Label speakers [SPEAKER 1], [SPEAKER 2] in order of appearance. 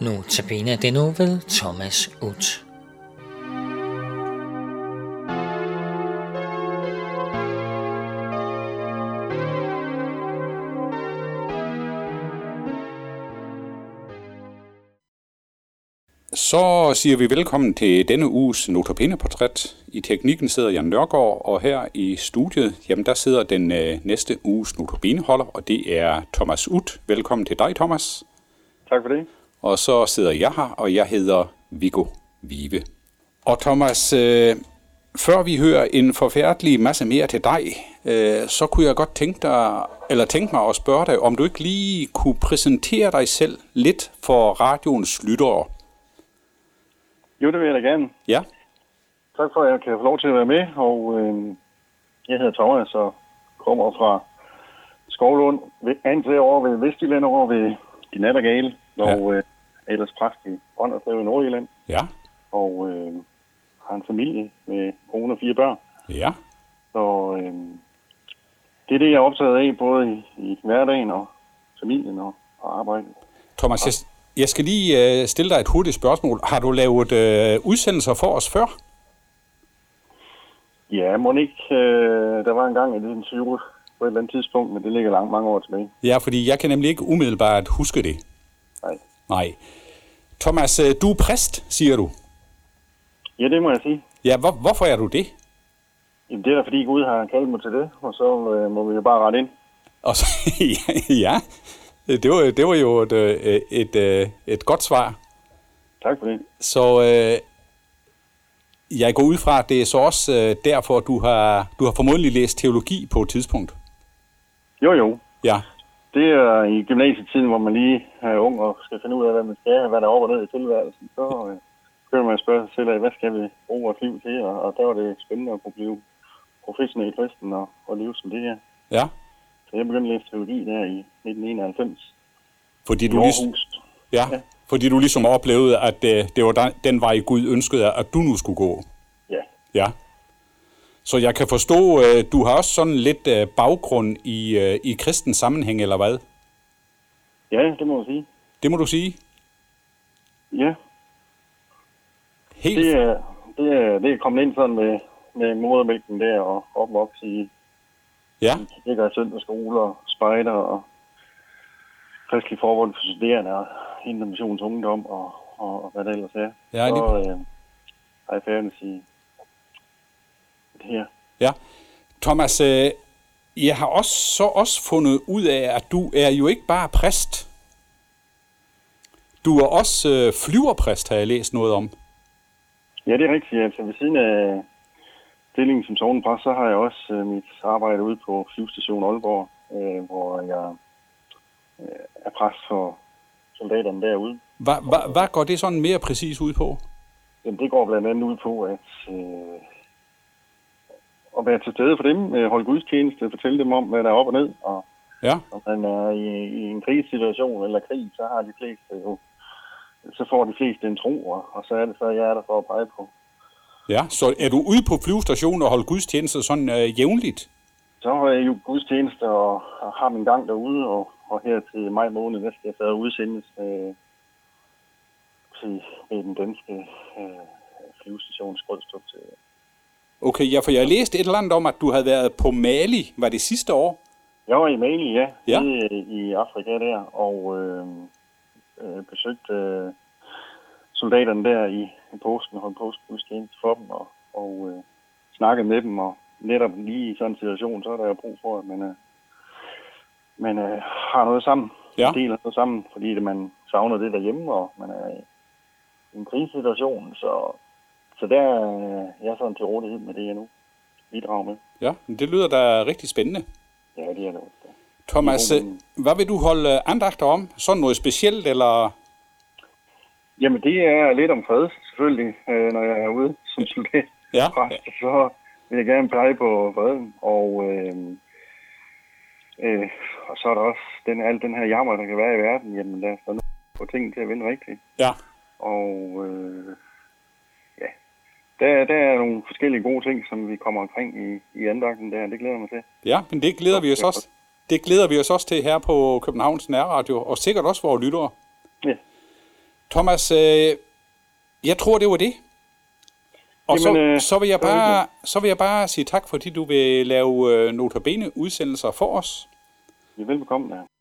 [SPEAKER 1] Notabene den nu ved Thomas Ut.
[SPEAKER 2] Så siger vi velkommen til denne uges Notabene-portræt. I teknikken sidder Jan Nørgaard, og her i studiet, jamen der sidder den øh, næste uges Notabene-holder, og det er Thomas Ut. Velkommen til dig, Thomas.
[SPEAKER 3] Tak for det.
[SPEAKER 2] Og så sidder jeg her, og jeg hedder Viggo Vive. Og Thomas, øh, før vi hører en forfærdelig masse mere til dig, øh, så kunne jeg godt tænke, dig, eller tænke mig at spørge dig, om du ikke lige kunne præsentere dig selv lidt for radioens lyttere.
[SPEAKER 3] Jo, det vil jeg da gerne.
[SPEAKER 2] Ja,
[SPEAKER 3] Tak for, at jeg kan få lov til at være med, og øh, jeg hedder Thomas og kommer fra Skovlund, ved, andet flere år ved Vestjylland over ved de nattergale,
[SPEAKER 2] Ja.
[SPEAKER 3] og øh, er ellers præst i Brønderslev i Nordjylland,
[SPEAKER 2] ja,
[SPEAKER 3] og øh, har en familie med kone og fire børn.
[SPEAKER 2] ja,
[SPEAKER 3] Så øh, det er det, jeg er optaget af, både i, i hverdagen og familien og, og arbejdet.
[SPEAKER 2] Thomas, jeg, jeg skal lige øh, stille dig et hurtigt spørgsmål. Har du lavet øh, udsendelser for os før?
[SPEAKER 3] Ja, må ikke, øh, der var engang en lille tyve på et eller andet tidspunkt, men det ligger langt mange år tilbage.
[SPEAKER 2] Ja, fordi jeg kan nemlig ikke umiddelbart huske det.
[SPEAKER 3] Nej.
[SPEAKER 2] Nej. Thomas, øh, du er præst, siger du.
[SPEAKER 3] Ja, det må jeg sige.
[SPEAKER 2] Ja, hvor, hvorfor er du det?
[SPEAKER 3] Jamen, det er da fordi Gud har kaldt mig til det, og så øh, må vi jo bare rette ind.
[SPEAKER 2] Og så, ja, ja, det var, det var jo et, øh, et, øh, et godt svar.
[SPEAKER 3] Tak for det.
[SPEAKER 2] Så øh, jeg går ud fra, at det er så også øh, derfor, du har, du har formodentlig læst teologi på et tidspunkt.
[SPEAKER 3] Jo, jo.
[SPEAKER 2] Ja,
[SPEAKER 3] Det er i gymnasietiden, hvor man lige er ung og skal finde ud af, hvad man skal, hvad der er op og ned i tilværelsen. Så øh, begynder man at spørge sig selv af, hvad skal vi bruge vores liv til? Og, og der var det spændende at kunne blive professionel kristen og, og leve som det her.
[SPEAKER 2] ja.
[SPEAKER 3] Så jeg begyndte at læse teologi der i 1991
[SPEAKER 2] Fordi
[SPEAKER 3] i
[SPEAKER 2] du, ligesom,
[SPEAKER 3] Aarhus.
[SPEAKER 2] ja, fordi du ligesom oplevede, at øh, det var den- den vej, Gud ønskede, at du nu skulle gå.
[SPEAKER 3] Ja,
[SPEAKER 2] Ja. Så jeg kan forstå, øh, du har også sådan lidt øh, baggrund i, øh, i kristen sammenhæng, eller hvad?
[SPEAKER 3] ja det må man sige.
[SPEAKER 2] Det må du sige.
[SPEAKER 3] Ja,
[SPEAKER 2] Helt,
[SPEAKER 3] det er, det er, det er kommet ind sådan med, med modermælken der og opvokset i
[SPEAKER 2] ja.
[SPEAKER 3] ligger i søndagsskoler, spejder og kristelig forbund for studerende og Intermissions Ungdom og, og, og hvad det ellers er.
[SPEAKER 2] Ja,
[SPEAKER 3] så
[SPEAKER 2] lige-
[SPEAKER 3] øh, har jeg færdig sige det her.
[SPEAKER 2] Ja. Thomas, øh, jeg har også, så også fundet ud af, at du er jo ikke bare præst. Du er også øh, flyverpræst, har jeg læst noget om.
[SPEAKER 3] Ja, det er rigtigt. Altså ved siden af stillingen som sovnepræst, så har jeg også øh, mit arbejde ude på Flyvestation Aalborg, øh, hvor jeg øh, er præst for soldaterne derude.
[SPEAKER 2] Hvad hva, hva går det sådan mere præcis ud på?
[SPEAKER 3] Jamen, det går blandt andet ud på at, øh, at være til stede for dem, øh, holde gudstjeneste, fortælle dem om, hvad der er op og ned. Og
[SPEAKER 2] Ja,
[SPEAKER 3] når man er i, i en krigssituation eller krig, så har de fleste jo, så får de fleste en tro, og, og så er det så, jeg er der for at pege på.
[SPEAKER 2] ja. Så er du ude på flyvestationen og holder gudstjenester sådan øh, jævnligt?
[SPEAKER 3] Så har jeg jo gudstjeneste og, og har min gang derude, og, og her til maj måned, der skal jeg så udsendes øh, til ved den danske øh, flyvestation Skrødstrup til
[SPEAKER 2] Okay, ja, for jeg læste et eller andet om, at du havde været på Mali, var det sidste år?
[SPEAKER 3] Jeg var i Mali, ja,
[SPEAKER 2] Ja.
[SPEAKER 3] ja. I, i Afrika der, og øh, øh, besøgte øh, soldaterne der i, i påsken, holdt påskegudstjeneste for dem, og, og øh, snakkede med dem, og netop lige i sådan en situation, så er der jo brug for, at man, øh, man øh, har noget sammen,
[SPEAKER 2] Ja.
[SPEAKER 3] deler noget sammen, fordi det- man savner det derhjemme, og man er i en krisesituation, så, så der øh, jeg er sådan til rådighed med det, jeg nu bidrager med.
[SPEAKER 2] Ja, men det lyder da rigtig spændende.
[SPEAKER 3] Ja, det er det også.
[SPEAKER 2] Thomas, øh, hvad vil du holde øh, andagter om? Sådan noget specielt, eller...
[SPEAKER 3] Jamen, det er lidt om fred, selvfølgelig, øh, når jeg er ude som soldat.
[SPEAKER 2] Ja,
[SPEAKER 3] Præst, så vil jeg gerne pege på freden, og, øh, øh, og så er der også den, al den her jammer, der kan være i verden. Jamen, lad os da nu få tingene til at vende rigtigt.
[SPEAKER 2] ja.
[SPEAKER 3] Og øh, ja, der, der er nogle forskellige gode ting, som vi kommer omkring i, i andagten der. Det glæder jeg mig til.
[SPEAKER 2] Ja, men det glæder vi os også. Det glæder vi os også til her på Københavns Nærradio, og sikkert også vores lyttere.
[SPEAKER 3] Ja.
[SPEAKER 2] Thomas, øh, jeg tror, det var det. Og Jamen, så,
[SPEAKER 3] Jamen, øh,
[SPEAKER 2] så, vil jeg
[SPEAKER 3] det var
[SPEAKER 2] bare, så vil jeg bare sige tak, fordi du vil lave øh, notabene udsendelser for os.
[SPEAKER 3] I er velbekomme, ja.